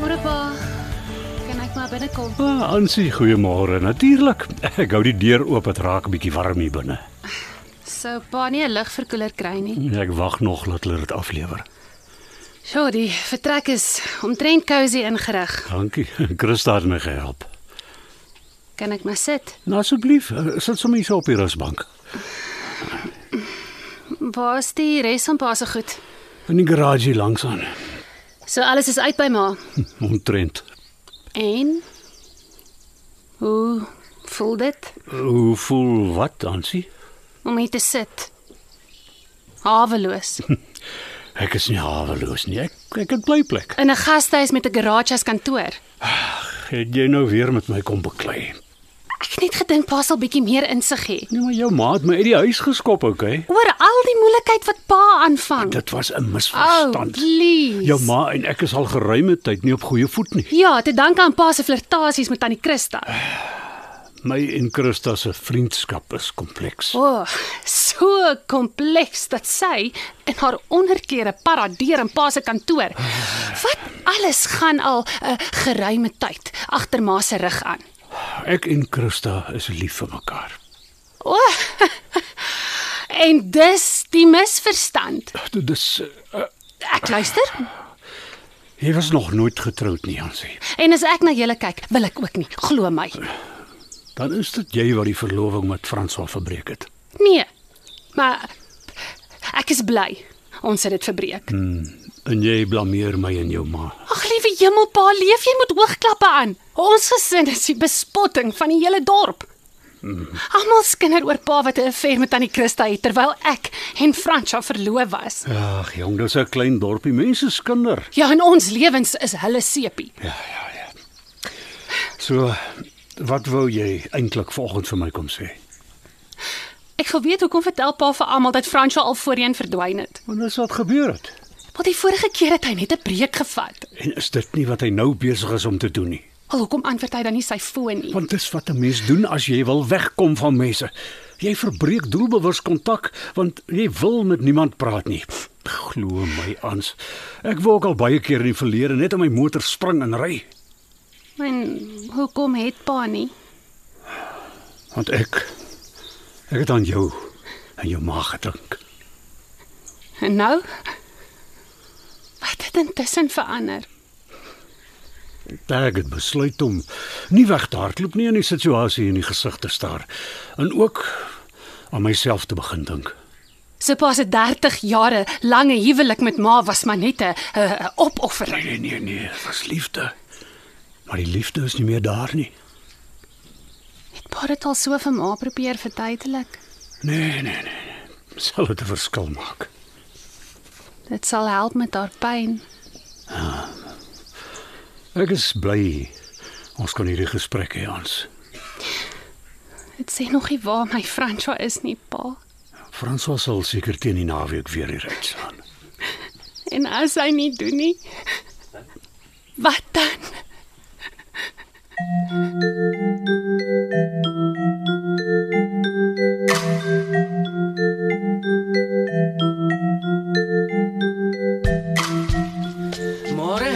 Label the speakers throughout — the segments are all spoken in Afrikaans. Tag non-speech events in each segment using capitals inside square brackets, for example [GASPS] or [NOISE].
Speaker 1: Môre pa. Kan ek maar binnekom?
Speaker 2: Ah, Ansie, goeiemôre. Natuurlik. Ek hou die deur oop, dit raak bietjie warm hier binne.
Speaker 1: Sou pa nie 'n ligverkoeler kry nie.
Speaker 2: Ek wag nog dat hulle dit aflewer.
Speaker 1: Sjoe, die vertrek is omtrent cosy ingerig.
Speaker 2: Dankie. [LAUGHS] Christa het my gehelp.
Speaker 1: Kan ek maar sit?
Speaker 2: Nou asseblief, eh, sit sommer hier so op die rusbank.
Speaker 1: Waar is die res van pa se goed?
Speaker 2: In die garage hier langs aan. [LAUGHS]
Speaker 1: So alles is uit by ma.
Speaker 2: Omtrent.
Speaker 1: En hoe voel dit
Speaker 2: Hoe voel wat, Ansie?
Speaker 1: om hier te sit?
Speaker 2: [LAUGHS]
Speaker 1: Haweloos.
Speaker 2: Ek is nie haweloos nie. Ek ek het blyplek.
Speaker 1: In 'n gastehuis met 'n garage as kantoor.
Speaker 2: Het jy nou weer met my kom beklei?
Speaker 1: Ek het net gedink pa sal bietjie meer insig hê.
Speaker 2: Nee, maar jou ma het my uit die huis geskop, okay?
Speaker 1: Oor al die moeilikheid wat pa aanvang.
Speaker 2: Dit was 'n
Speaker 1: Oh,
Speaker 2: misverstand.
Speaker 1: please.
Speaker 2: jou ma en ek is al geruime tyd nie op goeie voet nie.
Speaker 1: Ja, te danke aan Pa se flirtasies met tannie Christa.
Speaker 2: My en Christa se vriendskap is kompleks.
Speaker 1: O, oh, so kompleks dat sy in haar onderklere paradeer in Pa se kantoor. Wat alles gaan al 'n uh, geruime tyd agter Ma se rug aan.
Speaker 2: Ek en Christa is lief vir mekaar.
Speaker 1: O. [LAUGHS] Oh, en dis die misverstand.
Speaker 2: Dit is uh,
Speaker 1: Ek luister
Speaker 2: jy was nog nooit getroud nie, Jansie.
Speaker 1: en as ek na julle kyk, wil ek ook nie, glo my.
Speaker 2: Dan is dit jy wat die verloving met François verbreek het.
Speaker 1: Nee. Maar ek is bly ons het dit verbreek.
Speaker 2: En jy blameer my en jou ma.
Speaker 1: Ag liewe hemel, pa, leef jy met oogklappe aan. Ons gesin is die bespotting van die hele dorp. Almal skinder oor pa wat 'n affair met tannie Christa het terwyl ek en Fransja verloof was.
Speaker 2: Ag, jong, dis 'n klein dorpie, mense skinder.
Speaker 1: Ja, in ons lewens is hulle seepie.
Speaker 2: Ja, ja, ja. So, wat wou jy eintlik vanoggend vir my kom sê?
Speaker 1: Ek wil weet hoekom vertel pa vir almal dat Fransja al voorheen verdwyn het.
Speaker 2: Want dis wat gebeur het.
Speaker 1: Want die vorige keer het hy net 'n breek gevat.
Speaker 2: En is dit nie wat hy nou besig is om te doen nie?
Speaker 1: Al hoekom antwoord hy dan nie sy foon nie?
Speaker 2: Want dis wat 'n mens doen as jy wil wegkom van mense. Jy verbreek doelbewus kontak want jy wil met niemand praat nie. Pff, Glo my ans. Ek wou ook al baie keer in die verlede net in my motor spring en ry
Speaker 1: En hoekom het pa nie?
Speaker 2: want ek ek het aan jou en jou ma gedink.
Speaker 1: En nou? Wat het intussen verander?
Speaker 2: Ek het besluit om nie weg te hardloop nie en die situasie in die gesig te staar en ook aan myself te begin dink.
Speaker 1: So pas 'n 30 jare lange huwelik met ma was maar net 'n 'n- 'n opoffering.
Speaker 2: Nee nee nee, dit was liefde. Maar die liefde is nie meer daar nie.
Speaker 1: Het pa dit al so vir ma probeer verduidelik?
Speaker 2: Nee, nee, nee. nee. Sal dit 'n verskil maak?
Speaker 1: Dit sal help met haar pyn.
Speaker 2: Ek is bly ons kon hierdie gesprek hê ons.
Speaker 1: Dit sê nog nie waar my Franswa is nie, pa.
Speaker 2: François sal seker teen die naweek weer hier uitslaan.
Speaker 1: En as hy nie doen nie, wat dan?
Speaker 3: Môre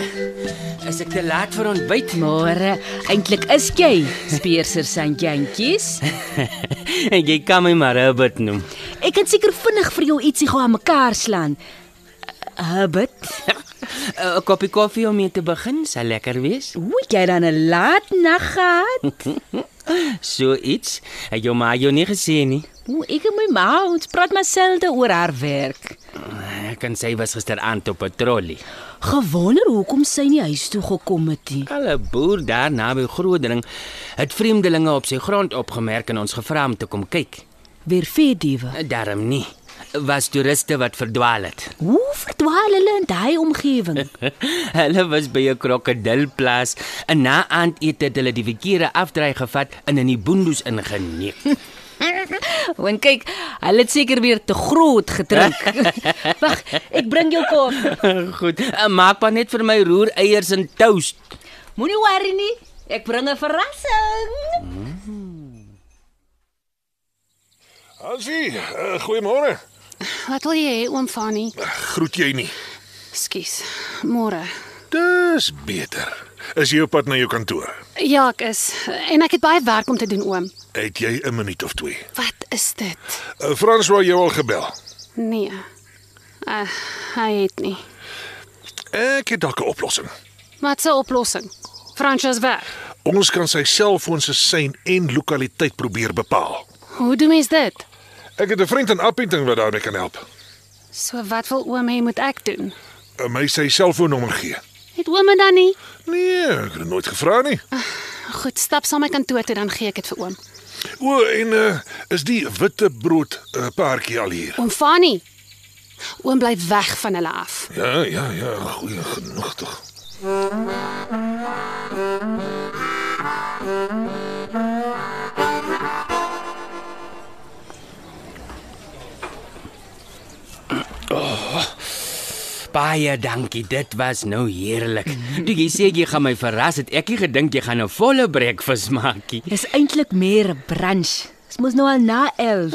Speaker 3: is ek te laat vir ontbyt
Speaker 4: Môre, eintlik is jy speerser sandjantjies.
Speaker 3: en jy kan my maar Herbert noem.
Speaker 4: Ek kan seker vinnig vir jou ietsie gou aan mekaar slaan. Eh, Habit.
Speaker 3: Eh, 'n Koppie koffie om mee te begin sal lekker wees.
Speaker 4: Hoe jy dan 'n laat nag gehad?
Speaker 3: So iets het jou ma jou nie gesê nie.
Speaker 4: Hoe ek en my ma ons praat maar selde oor haar werk.
Speaker 3: Ek kan sê was gisteraand op 'n trollie.
Speaker 4: Gewonder hoekom sy nie huis toe gekom het nie.
Speaker 3: Alle boer daar naby Grootdring het vreemdelinge op sy grond opgemerk en ons gevra om te kom kyk.
Speaker 4: Weer vir diewe.
Speaker 3: Daarom nie. was toeriste wat verdwaal het. [LAUGHS]
Speaker 4: Hoe verdwaal hulle in daai omgewing?
Speaker 3: Hulle was by 'n krokodilplaas en na aandete het hulle die verkeerde afdraai gevat en in die boondoes ingeneek.
Speaker 4: Want kyk, hulle het seker weer te groot gedrink. Wag, ek bring jou koffie.
Speaker 3: [LAUGHS] Goed, eh, maak maar net vir my roer eiers en toast.
Speaker 4: Moenie worry nie, ek bring 'n verrassing.
Speaker 2: Asie, uh, goeiemôre.
Speaker 1: Wat wil jy hê, oom Fanie?
Speaker 2: Groet jy nie.
Speaker 1: Skus. Môre.
Speaker 2: Dis beter. Is jy op pad na jou kantoor?
Speaker 1: Ja, ek is en ek het baie werk om te doen, oom.
Speaker 2: Het jy 'n minuut of twee?
Speaker 1: Wat is dit?
Speaker 2: Uh, François jou al gebel.
Speaker 1: Nee. Uh, hy het nie.
Speaker 2: Ek het dalk 'n oplossing.
Speaker 1: Wat 'n oplossing. Francois weg.
Speaker 2: Ons kan sy selfoon se sein en lokaliteit probeer bepaal.
Speaker 1: Hoe doen mens dit?
Speaker 2: Ek het 'n vriend in Appington wat daarmee kan help.
Speaker 1: So wat wil oom hê moet ek doen?
Speaker 2: Uh, my sy selfoonnommer gee.
Speaker 1: Het oom dit dan nie?
Speaker 2: Nee, ek het dit nooit gevra nie.
Speaker 1: Goed, stap saam my kantoor toe dan gee ek dit vir oom.
Speaker 2: O, en uh, is die witte brood 'n uh, paartjie al hier?
Speaker 1: Oom Fanie. Oom bly weg van hulle af.
Speaker 2: Ja, ja, ja, goeie genoeg tog.
Speaker 3: Baie dankie, dit was nou heerlik. Toe jy sê jy gaan my verras, het ek nie gedink jy gaan 'n volle breakfast maak nie.
Speaker 4: Dis eintlik meer 'n brunch. Dit mos nou al na 11.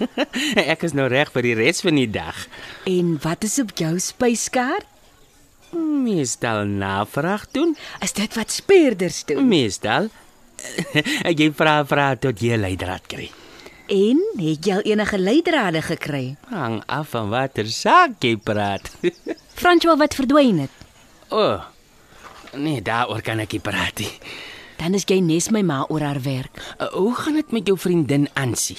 Speaker 3: [LAUGHS] Ek is nou reg vir die res van die dag.
Speaker 4: En wat is op jou spyskaart?
Speaker 3: Meestal navraag doen.
Speaker 4: Is dit wat speerders doen?
Speaker 3: Meestal [LAUGHS] jy vra vra tot jy leidraad kry.
Speaker 4: En het jy al enige leidrade gekry?
Speaker 3: Hang af van watter saak jy praat. [LAUGHS]
Speaker 4: François wat verdwyn het.
Speaker 3: o. Oh, nee, daaroor kan ek nie praat nie.
Speaker 4: Dan is jy nes my ma oor haar werk.
Speaker 3: Uh, Hoe gaan dit met jou vriendin Ansie?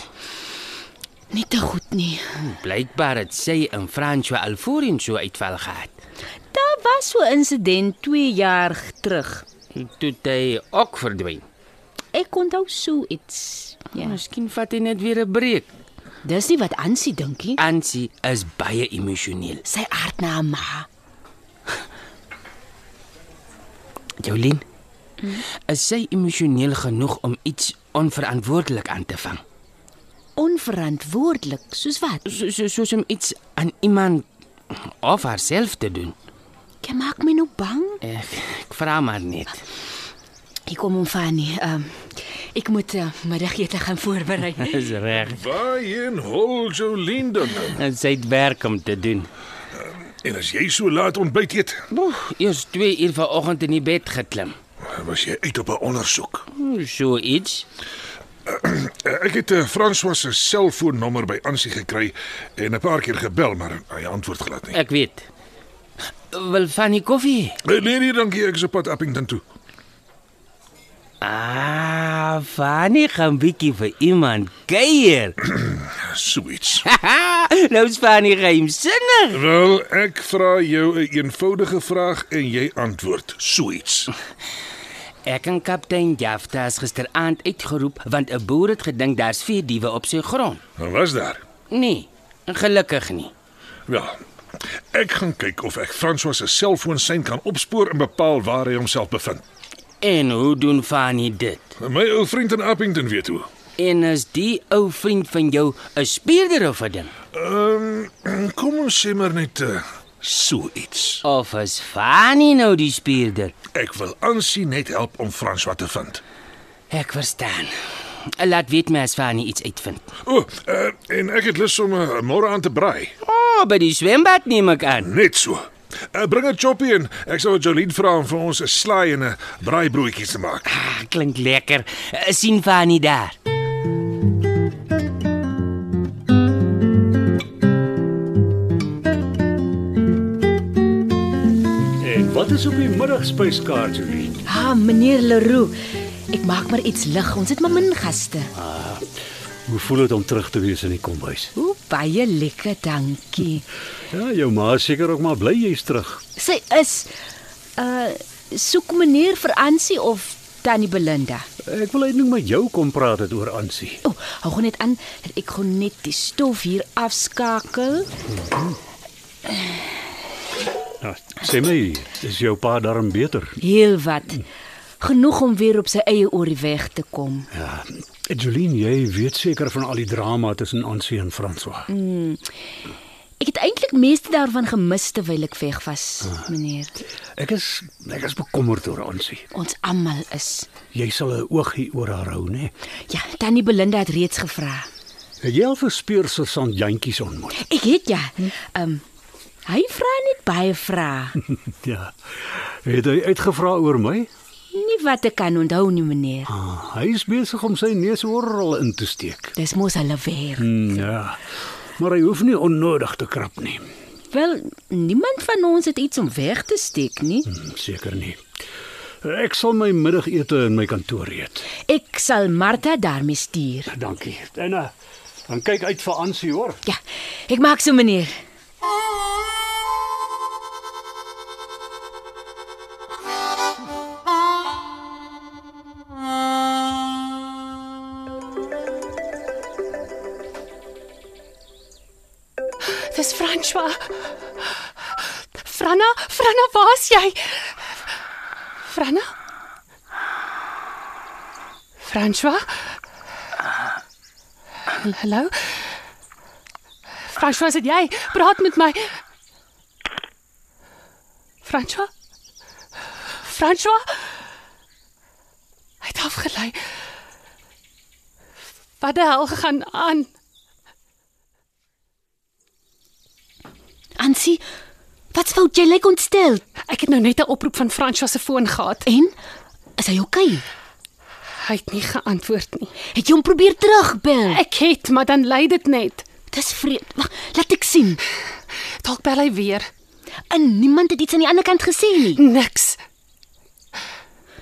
Speaker 4: Nie te goed nie.
Speaker 3: Blykbaar het sy in Franswa alvorens so uitval gehad.
Speaker 4: Daar was so 'n insident 2 jaar g- terug.
Speaker 3: Toe het hy ook verdwyn.
Speaker 4: Ek onthou so iets. Ja.
Speaker 3: Miskien vat hy net weer 'n breek.
Speaker 4: Dis nie wat Ansie dinkie.
Speaker 3: Ansie is baie emosioneel.
Speaker 4: Sy aard na haar ma.
Speaker 3: Jolien, is sy emosioneel genoeg om iets onverantwoordelik aan te vang?
Speaker 4: Onverantwoordelik, soos wat?
Speaker 3: So, so, soos om iets aan iemand of haarself te doen.
Speaker 4: Jy maak my nou bang.
Speaker 3: Ek, ek vra maar net.
Speaker 4: Ek kom om van nie. Ehm um, ek moet uh, middagete gaan voorberei.
Speaker 3: [LAUGHS] Dis reg.
Speaker 2: Waarheen hol Jolien dan? nou?
Speaker 3: Sy het werk om te doen.
Speaker 2: En as jy so laat ontbyt eet,
Speaker 3: Boeg, eers 2 uur vanoggend in die bed geklim.
Speaker 2: was jy uit op 'n ondersoek.
Speaker 3: So iets.
Speaker 2: Eh, Ek het eh, François se selfoonnommer by Ansie gekry en 'n paar keer gebel, maar hy antwoord glad nie.
Speaker 3: Ek weet. Wil van die koffie?
Speaker 2: Eh, Nee nee, dankie, ek is op pad Appington toe.
Speaker 3: Ah, Fanny gaan bietjie vir iemand kuier. [LAUGHS]
Speaker 2: Sweets.
Speaker 3: Nou's Fanny geheimsinnig.
Speaker 2: Wel, ek vra jou 'n eenvoudige vraag en jy antwoord sweets.
Speaker 3: Ek en kaptein Jafta is gisteraand uitgeroep want 'n boer het gedink daar's vier diewe op sy grond.
Speaker 2: Wat was daar?
Speaker 3: Nee, gelukkig nie.
Speaker 2: Ja. Ek gaan kyk of ek François se selfoon sein kan opspoor en bepaal waar hy homself bevind.
Speaker 3: En hoe doen Fanny dit?
Speaker 2: My ou vriend in Appington weet hoe.
Speaker 3: En is die ou vriend van jou 'n spierder of 'n ding?
Speaker 2: Ehm, kom ons sê maar net uh, so iets.
Speaker 3: Of is Fanny nou die spierder?
Speaker 2: Ek wil Ansie net help om François te vind.
Speaker 3: Ek verstaan. Laat weet my as Fanny iets uitvind.
Speaker 2: O, oh, uh, en ek het lus om uh, môre aan te braai.
Speaker 3: O, oh, by die swembad neem ek aan.
Speaker 2: Net so. Uh, bring 'n choppie in. Ek sal Jolien vra om vir ons 'n slaai en 'n braaibroodjie te maak.
Speaker 3: Ah, klink lekker. Eh, Sien Fanny daar.
Speaker 5: En wat is op die middagspyskaart, Julie?
Speaker 4: Ah, meneer Leroux. Ek maak maar iets lig. Ons het maar min gaste.
Speaker 5: Hoe voel dit om terug te wees in die kombuis?
Speaker 4: O, baie lekker, dankie.
Speaker 5: Ja, jou ma is seker ook maar bly jy's terug.
Speaker 4: eh, Sy is uh soek meneer vir Ansie of Tannie Belinda.
Speaker 5: Ek wil eintlik met jou kom praat het oor Ansie.
Speaker 4: O, oh, hou gou net aan dat ek gou net die stof hier afskakel.
Speaker 5: Nou, sê my, is jou pa darm beter?
Speaker 4: Heel wat. Genoeg om weer op sy eie oor die weg te kom.
Speaker 5: Ja. Jolien, jy weet seker van al die drama tussen Ansie en François.
Speaker 4: Ek het eintlik meeste daarvan gemis terwyl ek weg was, meneer.
Speaker 5: Ek is ek is bekommerd oor Ansie.
Speaker 4: Ons almal is.
Speaker 5: Jy sal 'n oogie oor haar hou, né?
Speaker 4: Ja, Tannie Belinda het reeds gevra.
Speaker 5: Het jy al verspeur Susan Jantjie se
Speaker 4: [LAUGHS]
Speaker 5: ontmoet?
Speaker 4: Ek het ja. Ehm um, hy vra net baie vrae.
Speaker 5: ja. Het hy uitgevra oor my?
Speaker 4: Nie wat ek kan onthou nie, meneer.
Speaker 5: Ah, hy is besig om sy neus oral in te steek.
Speaker 4: Dis mos hulle weer.
Speaker 5: Hmm, ja. Maar hy hoef nie onnodig te krap nie.
Speaker 4: Wel, niemand van ons het iets om weg te steek nie.
Speaker 5: Hmm, Seker nie. Ek sal my middagete in my kantoor eet.
Speaker 4: Ek sal Martha daarmee stuur.
Speaker 5: Dankie. En uh, dan kyk uit vir Ansie hoor.
Speaker 4: Ja, ek maak so, meneer.
Speaker 1: Dis François. Franna, Franna, waar's jy? Franna? François? Hallo? François, sit jy? Praat met my. François? François? Hy het afgelei. Wat die hel gaan aan?
Speaker 4: Ansie, wat's fout? Jy lyk ontstel.
Speaker 1: Ek het nou net 'n oproep van François se foon gehad.
Speaker 4: En is hy oukei? Okay?
Speaker 1: Hy het nie geantwoord nie.
Speaker 4: Het jy hom probeer terugbel?
Speaker 1: Ek het, maar dan lei dit net.
Speaker 4: Dis vreemd. Wag, laat ek sien.
Speaker 1: Dalk bel hy weer.
Speaker 4: En niemand het iets aan die ander kant gesê nie.
Speaker 1: Niks.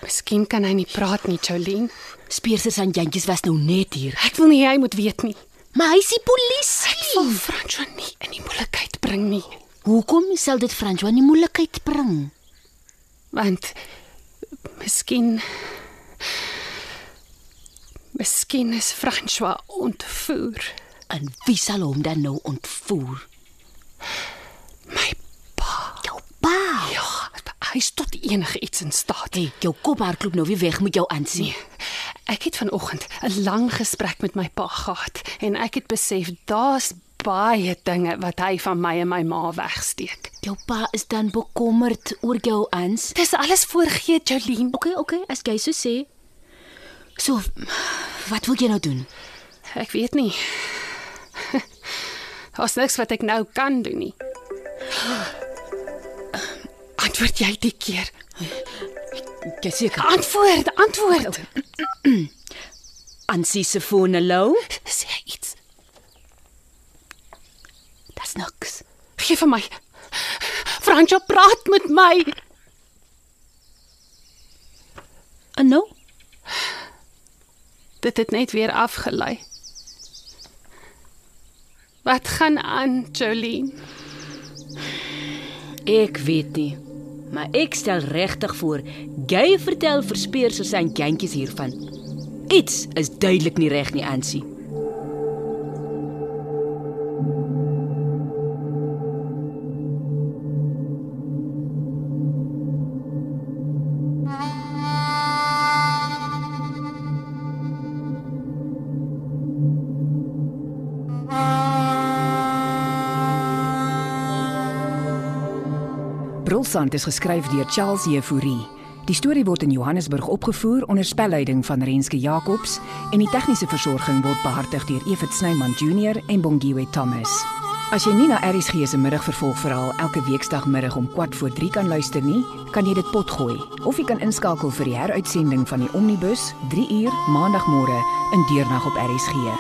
Speaker 1: Miskien kan hy nie praat nie, Jolene.
Speaker 4: Speersers en jantjies was nou net hier.
Speaker 1: Ek wil nie hy moet weet nie.
Speaker 4: Maar hy is die polisie.
Speaker 1: Ek wil François nie in die moeilikheid bring nie,
Speaker 4: Hoekom sal dit François in die moeilikheid bring?
Speaker 1: want miskien Miskien is François ontvoer.
Speaker 4: En wie sal hom dan nou ontvoer?
Speaker 1: My pa.
Speaker 4: Jou pa.
Speaker 1: Ja, hy's tot enige iets in staat.
Speaker 4: Hey, jou kop hardloop nou weer weg met jou aansien.
Speaker 1: Nee. Ek het vanoggend 'n lang gesprek met my pa gehad en ek het besef daar's baie dinge wat hy van my en my ma wegsteek.
Speaker 4: Jou pa is dan bekommerd oor jou aans.
Speaker 1: Dis alles voorgee, Jolene.
Speaker 4: Okay, okay, as jy so sê. So, wat wil jy nou doen?
Speaker 1: Ek weet nie. [LAUGHS] Daar's niks wat ek nou kan doen nie. [GASPS] Antwoord jy die keer.
Speaker 4: Jy seker
Speaker 1: Antwoord, antwoord.
Speaker 4: Ansie se foon hallo?
Speaker 1: Sê iets.
Speaker 4: Dis niks.
Speaker 1: Gee vir my. Franco praat met my.
Speaker 4: En nou?
Speaker 1: Dit het net weer afgelei. Wat gaan aan, Jolene?
Speaker 4: Ek weet nie. Maar ek stel regtig voor, jy vertel verspeer so sy jantjies hiervan. Iets is duidelik nie reg nie, Ansie.
Speaker 6: Brulsand is geskryf deur Charles Jefouri. Die storie word in Johannesburg opgevoer onder spelleiding van Renske Jacobs en die tegniese versorging word behartig deur Evit Snyman Junior en Bongwe Thomas. As jy Nina Eris gee se middagvervolgverhaal elke weekdagmiddag om 4:04 kan luister nie, kan jy dit potgooi of jy kan inskakel vir die heruitsending van die Omnibus 3 uur maandagmôre in deernag op RSG.